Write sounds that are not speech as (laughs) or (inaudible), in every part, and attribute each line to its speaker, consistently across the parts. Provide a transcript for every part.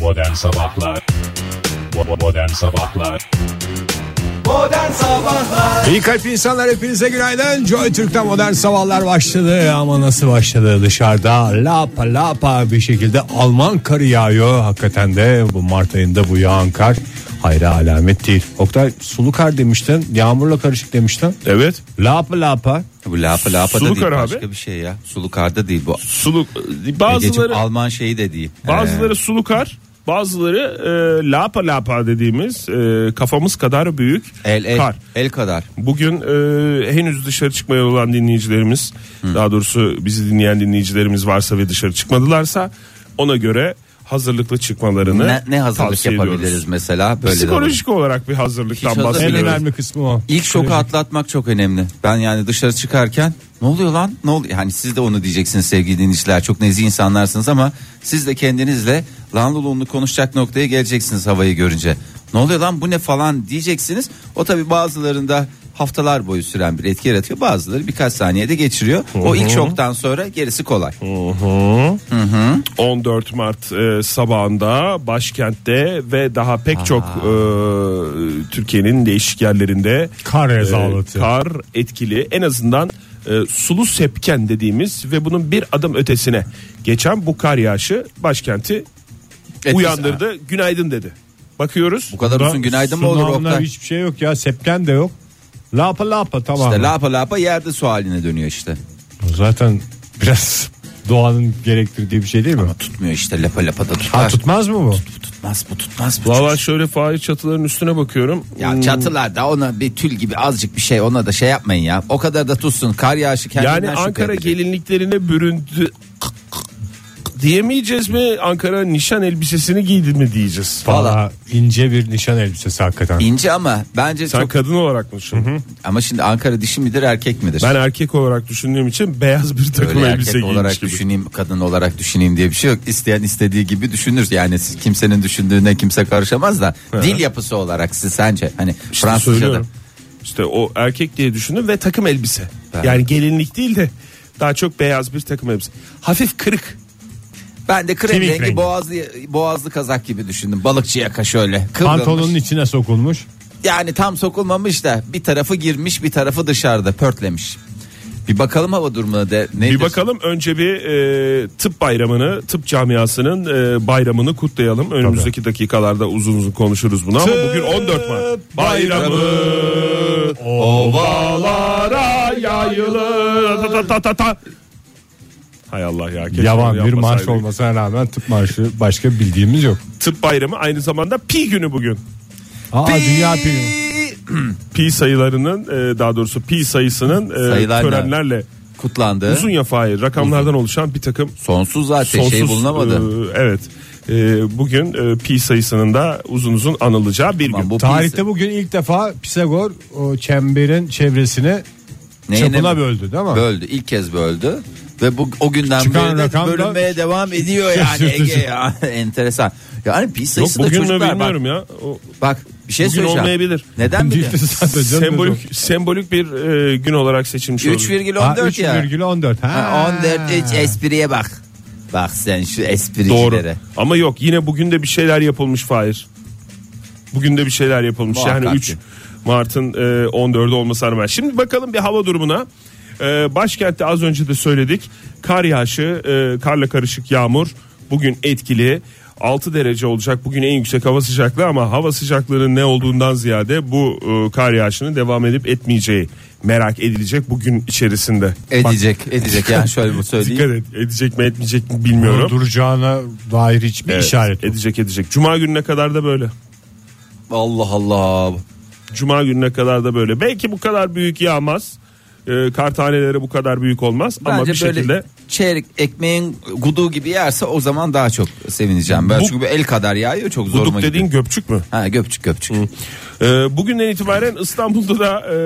Speaker 1: Modern Sabahlar Bo- Modern Sabahlar
Speaker 2: İyi kalp insanlar hepinize günaydın. Joy Türk'te modern sabahlar başladı ama nasıl başladı dışarıda lapa lapa bir şekilde Alman karı yağıyor. Hakikaten de bu Mart ayında bu yağan kar hayra alamet değil. Oktay sulu kar demiştin yağmurla karışık demiştin.
Speaker 3: Evet.
Speaker 2: Lapa lapa
Speaker 4: Bu lapa lapa
Speaker 3: Sulu
Speaker 4: da değil
Speaker 3: kar
Speaker 4: başka
Speaker 3: abi.
Speaker 4: bir şey ya. Sulu kar da değil bu. E,
Speaker 3: Suluk e,
Speaker 4: Egeciğim
Speaker 3: bazıları
Speaker 4: Alman şeyi de değil.
Speaker 3: bazıları sulukar, bazıları e, lapa lapa dediğimiz e, kafamız kadar büyük
Speaker 4: Ee, el, el,
Speaker 3: kar.
Speaker 4: el kadar.
Speaker 3: Bugün e, henüz dışarı çıkmaya olan dinleyicilerimiz, daha doğrusu bizi dinleyen dinleyicilerimiz varsa ve dışarı çıkmadılarsa ona göre hazırlıklı çıkmalarını
Speaker 4: Ne, ne hazırlık
Speaker 3: tavsiye
Speaker 4: yapabiliriz
Speaker 3: ediyoruz.
Speaker 4: mesela böyle de
Speaker 3: Psikolojik olarak bir hazırlıktan
Speaker 4: Hiç hazır-
Speaker 2: en
Speaker 3: bahsediyoruz.
Speaker 2: önemli kısmı o.
Speaker 4: İlk şoku atlatmak çok önemli. Ben yani dışarı çıkarken ne oluyor lan? Ne oluyor? Hani siz de onu diyeceksiniz sevgili dinleyiciler. Çok nezih insanlarsınız ama siz de kendinizle lan lulunlu konuşacak noktaya geleceksiniz havayı görünce. Ne oluyor lan bu ne falan diyeceksiniz. O tabi bazılarında haftalar boyu süren bir etki yaratıyor. Bazıları birkaç saniyede geçiriyor. O ilk şoktan sonra gerisi kolay.
Speaker 3: 14 Mart e, sabahında başkentte ve daha pek çok e, Türkiye'nin değişik yerlerinde
Speaker 2: Kar
Speaker 3: e,
Speaker 2: rezalatı.
Speaker 3: kar etkili en azından e, sulu sepken dediğimiz ve bunun bir adım ötesine geçen bu kar yağışı başkenti
Speaker 4: Etkisi-
Speaker 3: uyandırdı. Günaydın dedi. Bakıyoruz.
Speaker 4: Bu kadar uzun günaydın mı olur
Speaker 2: Sunamlar,
Speaker 4: Oktay?
Speaker 2: Hiçbir şey yok ya sepken de yok. Lapa lapa tamam.
Speaker 4: İşte lapa lapa yerde su haline dönüyor işte.
Speaker 2: Zaten biraz (laughs) doğanın gerektirdiği bir şey değil mi?
Speaker 4: Tutmuyor işte lapa lapa da
Speaker 2: Ha,
Speaker 4: tutar.
Speaker 2: tutmaz mı bu?
Speaker 4: Tutmaz bu tutmaz bu.
Speaker 3: Valla şöyle faiz çatıların üstüne bakıyorum.
Speaker 4: Ya çatılarda ona bir tül gibi azıcık bir şey ona da şey yapmayın ya. O kadar da tutsun. Kar yağışı şey kendinden
Speaker 3: Hmm, Yani Ankara
Speaker 4: şüphe edecek.
Speaker 3: gelinliklerine büründü diyemeyeceğiz mi? Ankara nişan elbisesini giydi mi diyeceğiz.
Speaker 2: Valla ince bir nişan elbisesi hakikaten.
Speaker 4: İnce ama bence
Speaker 3: Sen
Speaker 4: çok
Speaker 3: kadın olarak mı düşündün?
Speaker 4: ama şimdi Ankara dişi midir erkek midir?
Speaker 3: Ben erkek olarak düşündüğüm için beyaz bir takım
Speaker 4: Öyle
Speaker 3: elbise
Speaker 4: erkek
Speaker 3: giymiş
Speaker 4: olarak
Speaker 3: gibi.
Speaker 4: düşüneyim kadın olarak düşüneyim diye bir şey yok. İsteyen istediği gibi düşünür. Yani siz- kimsenin düşündüğüne kimse karışamaz da dil yapısı olarak siz sence hani
Speaker 3: İşte
Speaker 4: Fransızca'da
Speaker 3: söylüyorum. İşte o erkek diye düşündüm ve takım elbise. Yani gelinlik değil de daha çok beyaz bir takım elbise. Hafif kırık.
Speaker 4: ben de krem
Speaker 2: Kemik
Speaker 4: rengi,
Speaker 2: rengi.
Speaker 4: boğazlı boğazlı kazak gibi düşündüm. Balıkçı yaka şöyle kıvrılmış.
Speaker 2: Pantolonun içine sokulmuş.
Speaker 4: Yani tam sokulmamış da bir tarafı girmiş bir tarafı dışarıda pörtlemiş. Bir bakalım hava durumuna de nedir?
Speaker 3: Bir bakalım önce bir e, tıp bayramını, tıp camiasının e, bayramını kutlayalım. Önümüzdeki dakikalarda uzun uzun konuşuruz bunu ama bugün 14 Mart. Bayramı ovalara yayılır. Ta ta ta ta ta. Hay Allah ya. keşke
Speaker 2: Yavan
Speaker 3: bunu
Speaker 2: bir marş
Speaker 3: yapmasaydık.
Speaker 2: olmasına rağmen tıp marşı başka bildiğimiz yok.
Speaker 3: Tıp bayramı aynı zamanda pi günü bugün.
Speaker 2: Aa dünya
Speaker 4: Pi-
Speaker 2: piyonu.
Speaker 3: Pi sayılarının e, daha doğrusu pi sayısının e,
Speaker 4: Sayılarla.
Speaker 3: törenlerle
Speaker 4: Kutlandı.
Speaker 3: uzun ya Fahir, rakamlardan oluşan bir takım
Speaker 4: Sonsuz zaten şey bulunamadı.
Speaker 3: e, evet. E, bugün e, pi sayısının da uzun uzun anılacağı bir
Speaker 4: Aman
Speaker 3: gün.
Speaker 4: bu
Speaker 2: Tarihte bugün ilk defa Pisagor o çemberin çevresini
Speaker 4: Neye
Speaker 2: çapına
Speaker 4: ne-
Speaker 2: böldü değil mi?
Speaker 4: böldü. ilk kez böldü. Ve bu o günden
Speaker 2: Çıkan
Speaker 4: beri de
Speaker 2: rakam da-
Speaker 4: bölünmeye devam ediyor yani
Speaker 2: Şaşırtıcı.
Speaker 4: Ege ya. (laughs) Enteresan. Yani pi
Speaker 3: Yok
Speaker 4: sayısı da
Speaker 3: bugün mü
Speaker 4: çocuklar bak,
Speaker 3: bilmiyorum ya. O,
Speaker 4: bak bir şey
Speaker 3: Bugün
Speaker 4: söyleyeceğim.
Speaker 3: olmayabilir.
Speaker 4: Neden
Speaker 2: (laughs)
Speaker 4: mi?
Speaker 2: Değildi zaten canım.
Speaker 3: sembolik sembolik bir e, gün olarak seçilmiş oldu.
Speaker 4: 3,14
Speaker 2: Ha,
Speaker 4: ya.
Speaker 2: 3,14. Ha.
Speaker 4: Ha, 14 3 espriye bak. Bak sen şu
Speaker 3: Doğru.
Speaker 4: espricilere.
Speaker 3: Ama yok yine bugün de bir şeyler yapılmış Fahir. Bugün de bir şeyler yapılmış.
Speaker 4: Muhakkak
Speaker 3: yani
Speaker 4: ki.
Speaker 3: 3 Mart'ın e, 14'ü olmasına rağmen. Şimdi bakalım bir hava durumuna. E, başkentte az önce de söyledik. Kar yağışı, e, karla karışık yağmur bugün etkili. 6 derece olacak bugün en yüksek hava sıcaklığı ama hava sıcaklığının ne olduğundan ziyade bu e, kar yağışının devam edip etmeyeceği merak edilecek bugün içerisinde.
Speaker 4: Edecek,
Speaker 3: (laughs)
Speaker 4: edecek yani şöyle bu söyleyeyim.
Speaker 3: Dikkat et edecek mi etmeyecek mi
Speaker 2: Bunu
Speaker 3: bilmiyorum.
Speaker 2: duracağına dair hiçbir
Speaker 3: Evet,
Speaker 2: işaret yok.
Speaker 3: edecek edecek. Cuma gününe kadar da böyle.
Speaker 4: Allah Allah.
Speaker 3: Cuma gününe kadar da böyle. Belki bu kadar büyük yağmaz. Ee, kar taneleri bu kadar büyük olmaz ama
Speaker 4: Bence
Speaker 3: bir
Speaker 4: böyle
Speaker 3: şekilde
Speaker 4: çeyrek ekmeğin guduğu gibi yerse o zaman daha çok sevineceğim. Ben
Speaker 3: Bu-
Speaker 4: çünkü bu el kadar yağıyor çok zoruma
Speaker 3: guduk dediğin
Speaker 4: gidiyor.
Speaker 3: göpçük mü?
Speaker 4: Ha göpçük göpçük.
Speaker 3: Ee, bugünden itibaren İstanbul'da da e,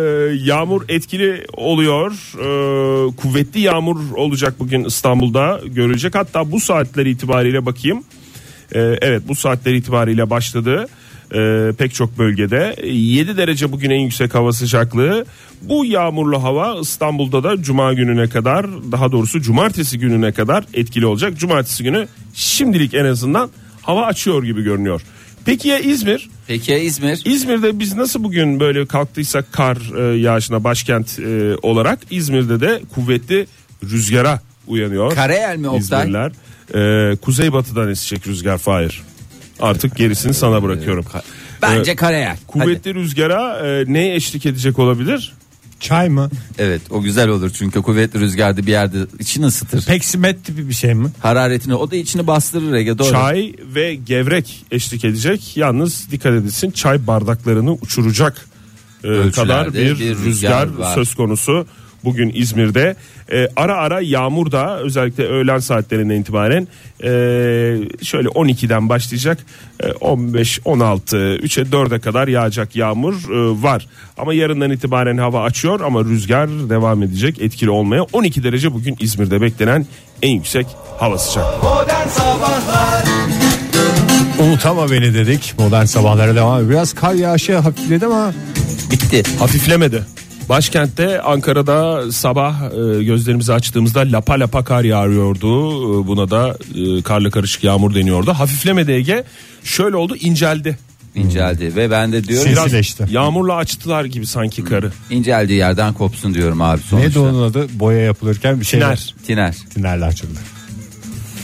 Speaker 3: yağmur etkili oluyor. Ee, kuvvetli yağmur olacak bugün İstanbul'da görülecek. Hatta bu saatler itibariyle bakayım. Ee, evet bu saatler itibariyle başladı. Ee, pek çok bölgede 7 derece bugün en yüksek hava sıcaklığı. Bu yağmurlu hava İstanbul'da da cuma gününe kadar daha doğrusu cumartesi gününe kadar etkili olacak. Cumartesi günü şimdilik en azından hava açıyor gibi görünüyor. Peki ya İzmir?
Speaker 4: Peki ya İzmir?
Speaker 3: İzmir'de biz nasıl bugün böyle kalktıysak kar e, yağışına başkent e, olarak İzmir'de de kuvvetli rüzgara uyanıyor.
Speaker 4: Karayel mi Oktay?
Speaker 3: İzmirliler. E, kuzeybatıdan esecek rüzgar Fahir. Artık gerisini sana bırakıyorum.
Speaker 4: Bence
Speaker 3: E,
Speaker 4: Karayel.
Speaker 3: kuvvetli rüzgara e, ne eşlik edecek olabilir?
Speaker 2: Çay mı?
Speaker 4: Hadi. Evet o güzel olur çünkü kuvvetli rüzgarda bir yerde içini ısıtır.
Speaker 2: Peksimet tipi bir şey mi?
Speaker 4: Hararetini o da içini bastırır Ege doğru.
Speaker 3: Çay ve gevrek eşlik edecek. Yalnız dikkat edilsin çay bardaklarını uçuracak e,
Speaker 4: Ölçülerde
Speaker 3: kadar bir,
Speaker 4: bir
Speaker 3: rüzgar
Speaker 4: rüzgar var.
Speaker 3: söz konusu bugün İzmir'de. E, ara ara yağmur da özellikle öğlen saatlerinden itibaren e, şöyle 12'den başlayacak e, 15 16 3'e 4'e kadar yağacak yağmur e, var. Ama yarından itibaren hava açıyor ama rüzgar devam edecek etkili olmaya. 12 derece bugün İzmir'de beklenen en yüksek hava sıcaklığı.
Speaker 2: Unutama beni dedik. Modern sabahlara devam ediyor. Biraz kar yağışı hafifledi ama
Speaker 4: Bitti.
Speaker 3: hafiflemedi. Başkentte Ankara'da sabah e, gözlerimizi açtığımızda lapa lapa kar yağıyordu. E, Buna da e, karla karışık yağmur deniyordu. Hafiflemedi Ege. Şöyle oldu inceldi.
Speaker 4: İnceldi ve ben de diyorum
Speaker 2: Sinsi- Sinsileşti.
Speaker 3: yağmurla açtılar gibi sanki karı.
Speaker 4: inceldiği yerden kopsun diyorum abi sonuçta.
Speaker 2: ne de onun adı boya yapılırken bir şeyler.
Speaker 3: Tiner.
Speaker 4: Tiner.
Speaker 2: Tinerler açıldı.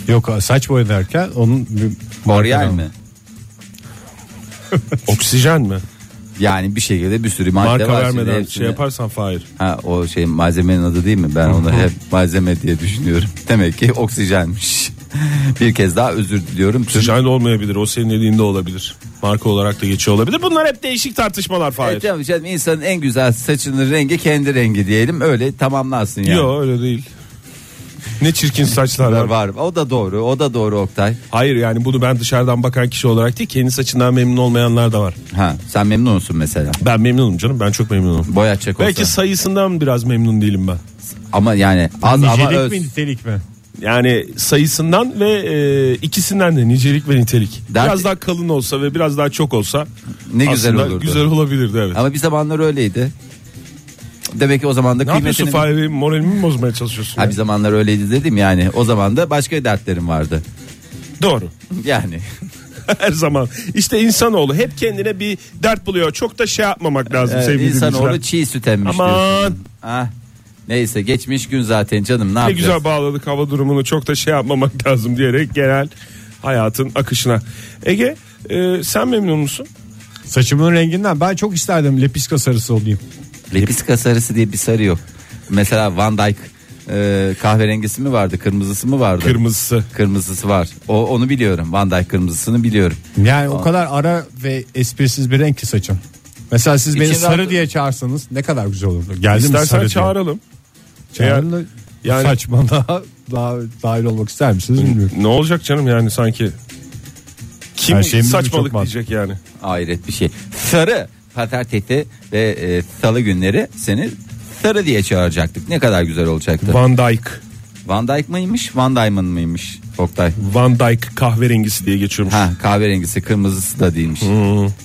Speaker 2: Yok saç boya derken onun bir
Speaker 4: Boreal mi?
Speaker 3: Oksijen mi?
Speaker 4: Yani bir şekilde bir sürü madde
Speaker 3: Marka
Speaker 4: var. şimdi
Speaker 3: vermeden
Speaker 4: hepsini-
Speaker 3: şey yaparsan Fahir.
Speaker 4: Ha, o şey malzemenin adı değil mi? Ben onu hep malzeme diye düşünüyorum. (laughs) Demek ki oksijenmiş. (laughs) bir kez daha özür diliyorum. Tüm-
Speaker 3: Oksijen de olmayabilir. O senin elinde olabilir. Marka olarak da geçiyor olabilir. Bunlar hep değişik tartışmalar Fahir.
Speaker 4: Evet canım, canım, insanın en güzel saçının rengi kendi rengi diyelim. Öyle tamamlansın yani.
Speaker 3: Yok öyle değil. Ne çirkin saçlar var.
Speaker 4: Var, var. O da doğru. O da doğru Oktay.
Speaker 3: Hayır yani bunu ben dışarıdan bakan kişi olarak değil kendi saçından memnun olmayanlar da var.
Speaker 4: Ha, sen memnun musun mesela?
Speaker 3: Ben memnunum canım ben çok memnunum.
Speaker 4: Boyatacak olsa.
Speaker 3: Belki sayısından biraz memnun değilim ben.
Speaker 4: Ama yani az ama
Speaker 2: nicelik
Speaker 4: öz.
Speaker 2: mi nitelik mi?
Speaker 3: Yani sayısından ve e, ikisinden de nicelik ve nitelik.
Speaker 4: Dert-
Speaker 3: Biraz daha kalın olsa ve biraz daha çok olsa
Speaker 4: Ne güzel
Speaker 3: aslında
Speaker 4: olurdu.
Speaker 3: Güzel olabilirdi evet.
Speaker 4: Ama bir zamanlar öyleydi. Demek ki o zaman da
Speaker 3: ne yapıyorsun
Speaker 4: kıymetini...
Speaker 3: Fahir Bey? moralimi mi bozmaya çalışıyorsun?
Speaker 4: Ha,
Speaker 3: ya?
Speaker 4: bir zamanlar öyleydi dedim yani. O zaman da başka dertlerim vardı. (laughs)
Speaker 3: Doğru. (laughs)
Speaker 4: Yani
Speaker 3: Her zaman. İşte insanoğlu hep kendine bir dert buluyor. Çok da şey yapmamak lazım
Speaker 4: e,
Speaker 3: sevgili
Speaker 4: insanoğlu
Speaker 3: dinleyiciler.
Speaker 4: çiğ süt emmiş diyorsun.
Speaker 3: Aman
Speaker 4: Ah, neyse geçmiş gün zaten canım ne
Speaker 3: Ne
Speaker 4: yapacağız?
Speaker 3: güzel bağladık hava durumunu çok da şey yapmamak (laughs) lazım diyerek genel hayatın akışına. Ege e, sen memnun musun?
Speaker 2: Saçımın renginden ben çok isterdim lepiska sarısı olayım.
Speaker 4: Lepiska sarısı diye bir sarı yok. Mesela Van Dyke e, kahverengisi mi vardı kırmızısı mı vardı?
Speaker 3: Kırmızısı.
Speaker 4: Kırmızısı var. O onu biliyorum. Van Dyke kırmızısını biliyorum.
Speaker 2: Yani o kadar ara ve esprisiz bir renk ki saçım. Mesela siz beni
Speaker 4: İçin
Speaker 2: sarı
Speaker 4: rahat-
Speaker 2: diye çağırsanız ne kadar güzel olurdu. Geldi mi sarı
Speaker 3: İstersen
Speaker 2: diye.
Speaker 3: çağıralım.
Speaker 2: Çağırın da
Speaker 3: Yani-
Speaker 2: saçmalığa (laughs) daha dahil olmak ister misiniz bilmiyorum.
Speaker 3: Ne olacak canım yani sanki kim
Speaker 2: Her şeyin bir
Speaker 3: saçmalık
Speaker 2: çok mantıklı.
Speaker 3: diyecek yani.
Speaker 4: Hayret bir şey. Sarı patatesi ve e, salı günleri seni sarı diye çağıracaktık. Ne kadar güzel olacaktı.
Speaker 3: Van Dyke.
Speaker 4: Van Dyke mıymış? Van Diamond mıymış? Oktay.
Speaker 3: Van Dyke kahverengisi diye geçiyormuş.
Speaker 4: Ha kahverengisi kırmızısı da değilmiş.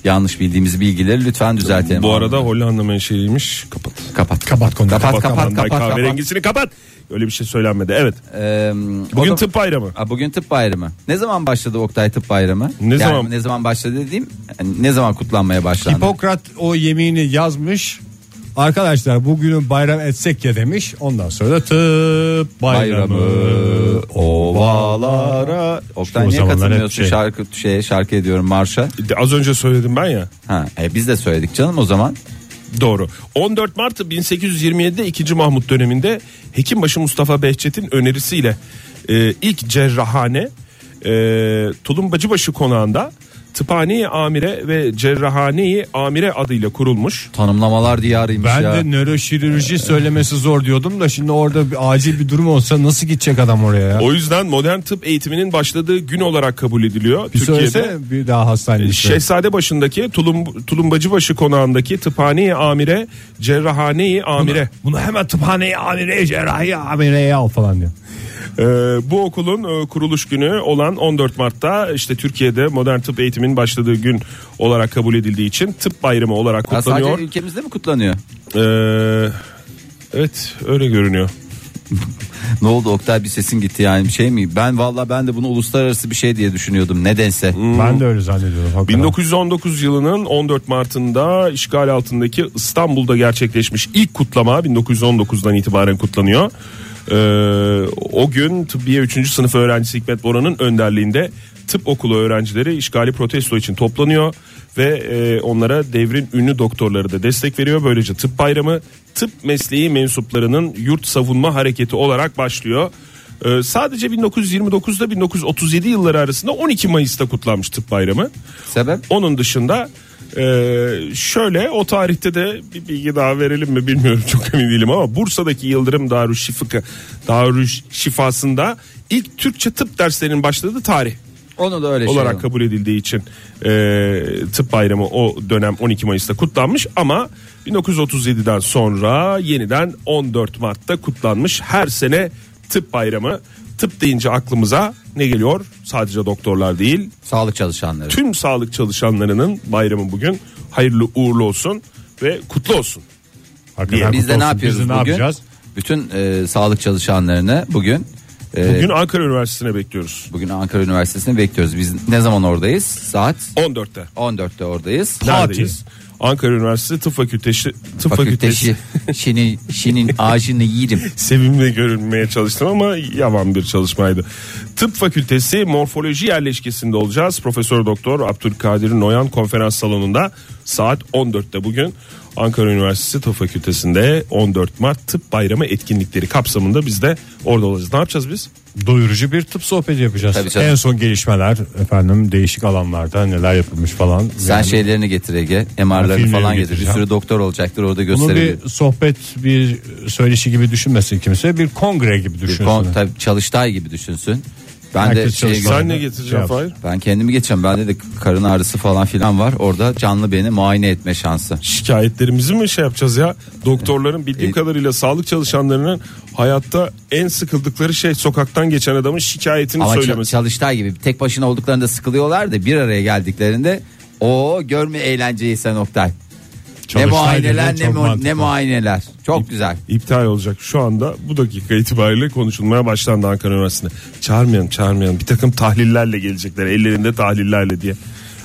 Speaker 4: Yanlış bildiğimiz bilgileri lütfen düzeltelim.
Speaker 3: Bu arada Hollanda menşeliymiş. Kapat.
Speaker 4: kapat.
Speaker 2: Kapat konuyu.
Speaker 4: Kapat kapat
Speaker 2: Kapat,
Speaker 4: kapat.
Speaker 3: Van Dyke
Speaker 4: kapat.
Speaker 3: kahverengisini kapat. Öyle bir şey söylenmedi. Evet.
Speaker 4: Ee,
Speaker 3: Bugün
Speaker 4: o da-
Speaker 3: tıp bayramı.
Speaker 4: Ha, bugün tıp bayramı. Ne zaman başladı Oktay tıp bayramı?
Speaker 3: Ne zaman?
Speaker 4: Ne zaman başladı dediğim yani ne zaman kutlanmaya başlandı?
Speaker 2: Hipokrat o yemeğini yazmış. Arkadaşlar bugünü bayram etsek ya demiş. Ondan sonra da tıp bayramı.
Speaker 4: Bayramı ovalara. Oktay
Speaker 2: o
Speaker 4: niye
Speaker 2: zamanlar hep
Speaker 4: katılmıyorsun
Speaker 2: şey.
Speaker 4: şarkı şeye şarkı ediyorum marşa?
Speaker 3: De- Az önce söyledim ben ya.
Speaker 4: Ha, e, biz de söyledik canım o zaman.
Speaker 3: Doğru. 14 Mart 1827'de 2. Mahmut döneminde Hekimbaşı Mustafa Behçet'in önerisiyle e, ilk cerrahane e, Tulumbacıbaşı konağında Tıphane-i Amire ve Cerrahane-i Amire adıyla kurulmuş.
Speaker 4: Tanımlamalar diyarıymış
Speaker 2: Ben
Speaker 4: ya.
Speaker 2: de nöroşirurji söylemesi zor diyordum da şimdi orada bir acil bir durum olsa nasıl gidecek adam oraya ya?
Speaker 3: O yüzden modern tıp eğitiminin başladığı gün olarak kabul ediliyor.
Speaker 2: Bir
Speaker 3: Türkiye'de
Speaker 2: söylese bir daha hastaneye şey,
Speaker 3: Şehzade başındaki Tulum, Tulumbacıbaşı konağındaki Tıphane-i Amire, Cerrahane-i Amire.
Speaker 2: Bunu hemen tıphaneye amireye cerrahi amireye al falan diyor.
Speaker 3: Ee, bu okulun e, kuruluş günü olan 14 Mart'ta işte Türkiye'de modern tıp eğitiminin başladığı gün olarak kabul edildiği için tıp bayramı olarak
Speaker 4: Ha,
Speaker 3: kutlanıyor.
Speaker 4: sadece ülkemizde mi kutlanıyor?
Speaker 3: Ee, evet öyle görünüyor.
Speaker 4: ne oldu Oktay bir sesin gitti yani bir şey mi? Ben valla ben de bunu uluslararası bir şey diye düşünüyordum nedense.
Speaker 2: Ben de öyle zannediyorum. hakikaten.
Speaker 3: 1919 yılının 14 Mart'ında işgal altındaki İstanbul'da gerçekleşmiş ilk kutlama 1919'dan itibaren kutlanıyor. Ee, o gün tıbbiye 3. sınıf öğrencisi Hikmet Boran'ın önderliğinde tıp okulu öğrencileri işgali protesto için toplanıyor ve e, onlara devrin ünlü doktorları da destek veriyor. Böylece tıp bayramı tıp mesleği mensuplarının yurt savunma hareketi olarak başlıyor. Ee, sadece 1929'da 1937 yılları arasında 12 Mayıs'ta kutlanmış tıp bayramı.
Speaker 4: Sebep?
Speaker 3: Onun dışında e, şöyle o tarihte de bir bilgi daha verelim mi bilmiyorum çok emin değilim ama Bursa'daki Yıldırım Darüşşifika Darüş şifasında ilk Türkçe tıp derslerinin başladığı tarih
Speaker 4: Onu da öyle şey
Speaker 3: olarak
Speaker 4: oldu.
Speaker 3: kabul edildiği için e, tıp bayramı o dönem 12 Mayıs'ta kutlanmış ama 1937'den sonra yeniden 14 Mart'ta kutlanmış her sene tıp bayramı. Tıp deyince aklımıza ne geliyor? Sadece doktorlar değil,
Speaker 4: Sağlık çalışanları.
Speaker 3: tüm sağlık çalışanlarının bayramı bugün hayırlı uğurlu olsun ve kutlu olsun.
Speaker 2: Hakikaten
Speaker 4: E, Biz
Speaker 2: kutlu
Speaker 4: de ne
Speaker 2: olsun. Biz
Speaker 4: yapıyoruz
Speaker 2: de
Speaker 4: bugün?
Speaker 2: ne yapacağız?
Speaker 4: Bütün e, sağlık çalışanlarını bugün e,
Speaker 3: Bugün Ankara Üniversitesi'ne bekliyoruz.
Speaker 4: bugün Ankara Üniversitesi'ni bekliyoruz. Biz ne zaman oradayız? Saat
Speaker 3: 14'te.
Speaker 4: 14'te oradayız.
Speaker 3: Neredeyiz? Ankara Üniversitesi Tıp Fakültesi Tıp Fakültesi.
Speaker 4: Fakülteşi (laughs) şinin şinin
Speaker 2: (laughs)
Speaker 4: ağacını yerim.
Speaker 3: Sevimli görünmeye çalıştım ama yavan bir çalışmaydı. Tıp Fakültesi Morfoloji Yerleşkesi'nde olacağız. Profesör Doktor Abdülkadir Noyan konferans salonunda saat 14'te bugün Ankara Üniversitesi Tıp Fakültesi'nde 14 Mart Tıp Bayramı etkinlikleri kapsamında biz de orada olacağız. Ne yapacağız biz?
Speaker 2: Doyurucu bir tıp sohbeti yapacağız.
Speaker 4: Tabii canım.
Speaker 2: en son gelişmeler efendim değişik alanlarda neler yapılmış falan.
Speaker 4: Sen şey şeylerini getir Ege. MR'larını
Speaker 2: Filmleri
Speaker 4: falan getir. Bir
Speaker 2: getireceğim.
Speaker 4: sürü doktor olacaktır orada
Speaker 2: Bunu
Speaker 4: gösterebilir.
Speaker 2: bir sohbet bir söyleşi gibi düşünmesin kimse bir kongre gibi
Speaker 4: Bir
Speaker 2: düşünsün.
Speaker 4: kon, tabii çalıştay gibi düşünsün. Ben
Speaker 2: Herkes
Speaker 4: de şey
Speaker 2: çalıştay.
Speaker 3: Sen ne
Speaker 2: Şey
Speaker 3: getireceksin
Speaker 2: yap.
Speaker 3: Fahir?
Speaker 4: ben kendimi geçeceğim. Bende de karın ağrısı falan filan var. Orada canlı beni muayene etme şansı.
Speaker 3: şikayetlerimizi mi şey yapacağız ya? Doktorların bildiğim
Speaker 4: E-
Speaker 3: kadarıyla sağlık çalışanlarının hayatta en sıkıldıkları şey sokaktan geçen adamın şikayetini
Speaker 4: Ama ça-
Speaker 3: söylemesi.
Speaker 4: çalıştay gibi tek başına olduklarında sıkılıyorlar da bir araya geldiklerinde o görme eğlenceyi sen Oktay. Ne
Speaker 2: Çalıştay
Speaker 4: muayeneler
Speaker 2: dediğin
Speaker 4: ne,
Speaker 2: çok
Speaker 4: mu-
Speaker 2: mantıklı.
Speaker 4: ne muayeneler. Çok güzel.
Speaker 3: İptal olacak şu anda bu dakika itibariyle konuşulmaya başlandı Ankara Üniversitesi'nde. Çağırmayalım çağırmayalım bir takım tahlillerle gelecekler ellerinde tahlillerle diye.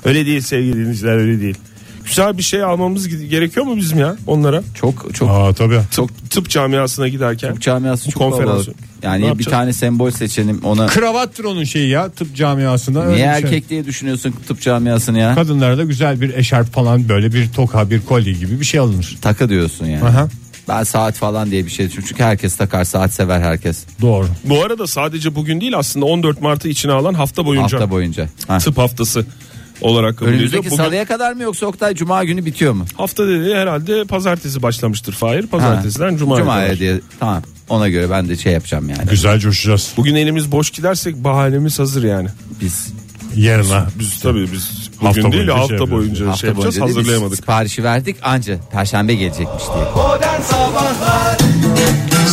Speaker 3: Öyle değil sevgili dinleyiciler öyle değil. Güzel bir şey almamız gi- gerekiyor mu bizim ya onlara?
Speaker 4: Çok çok
Speaker 2: Aa tabii.
Speaker 3: Tıp, tıp camiasına giderken.
Speaker 4: Tıp camiası
Speaker 3: Bu
Speaker 4: çok
Speaker 3: konferans-
Speaker 4: kalabalık.
Speaker 3: Ne
Speaker 4: Yani bir
Speaker 3: yapacağız?
Speaker 4: tane sembol seçelim ona.
Speaker 2: Kravattır onun şeyi ya tıp camiasında. öyle
Speaker 4: Niye
Speaker 2: bir şey.
Speaker 4: erkek diye düşünüyorsun tıp camiasını ya?
Speaker 2: Kadınlarda güzel bir eşarp falan böyle bir toka bir kolye gibi bir şey alınır.
Speaker 4: Takı diyorsun yani.
Speaker 2: Aha.
Speaker 4: Ben saat falan diye bir şey düşünüyorum. Çünkü herkes takar saat sever herkes.
Speaker 2: Doğru.
Speaker 3: Bu arada sadece bugün değil aslında 14 Mart'ı içine alan hafta boyunca.
Speaker 4: Hafta boyunca. Ha.
Speaker 3: tıp haftası olarak kabul ediliyor.
Speaker 4: Önümüzdeki
Speaker 3: Bugün
Speaker 4: salıya kadar mı yoksa Oktay cuma günü bitiyor mu?
Speaker 3: hafta dedi herhalde pazartesi başlamıştır Fahir.
Speaker 4: Ha.
Speaker 3: Pazartesiden cuma.
Speaker 4: Cuma'ya
Speaker 3: kadar.
Speaker 4: diye. Tamam. Ona göre ben de şey yapacağım yani.
Speaker 2: Güzel coşacağız.
Speaker 3: Bugün elimiz boş gidersek bahanemiz hazır yani.
Speaker 4: Biz
Speaker 2: Yarına.
Speaker 3: Biz tabii biz bugün
Speaker 2: Hafta
Speaker 3: değil
Speaker 2: boyunca
Speaker 3: hafta
Speaker 2: şey
Speaker 3: boyunca şey
Speaker 4: hafta
Speaker 3: yapacağız
Speaker 4: boyunca değil, biz
Speaker 3: hazırlayamadık.
Speaker 4: siparişi verdik anca perşembe gelecekmiş diye.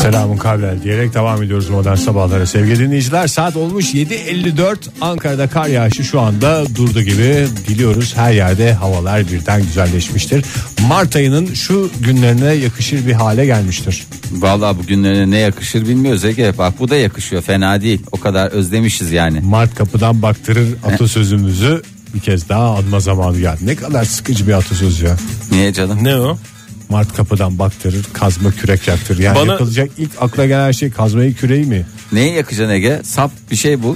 Speaker 2: Selamun kavlel diyerek devam ediyoruz modern sabahlara. Sevgili dinleyiciler saat olmuş 7.54 Ankara'da kar yağışı şu anda durdu gibi biliyoruz her yerde havalar birden güzelleşmiştir. Mart ayının şu günlerine yakışır bir hale gelmiştir.
Speaker 4: Vallahi bugünlerine ne yakışır bilmiyoruz Ege. Bak bu da yakışıyor fena değil. O kadar özlemişiz yani.
Speaker 2: Mart kapıdan baktırır atasözümüzü bir kez daha anma zamanı geldi. Ne kadar sıkıcı bir atasöz ya.
Speaker 4: Niye canım?
Speaker 3: Ne o?
Speaker 2: Mart kapıdan baktırır kazma kürek yaktır. Yani
Speaker 3: Bana-
Speaker 2: yapılacak ilk akla gelen şey kazmayı küreği mi?
Speaker 4: Neyi yakacaksın Ege? Sap bir şey bul.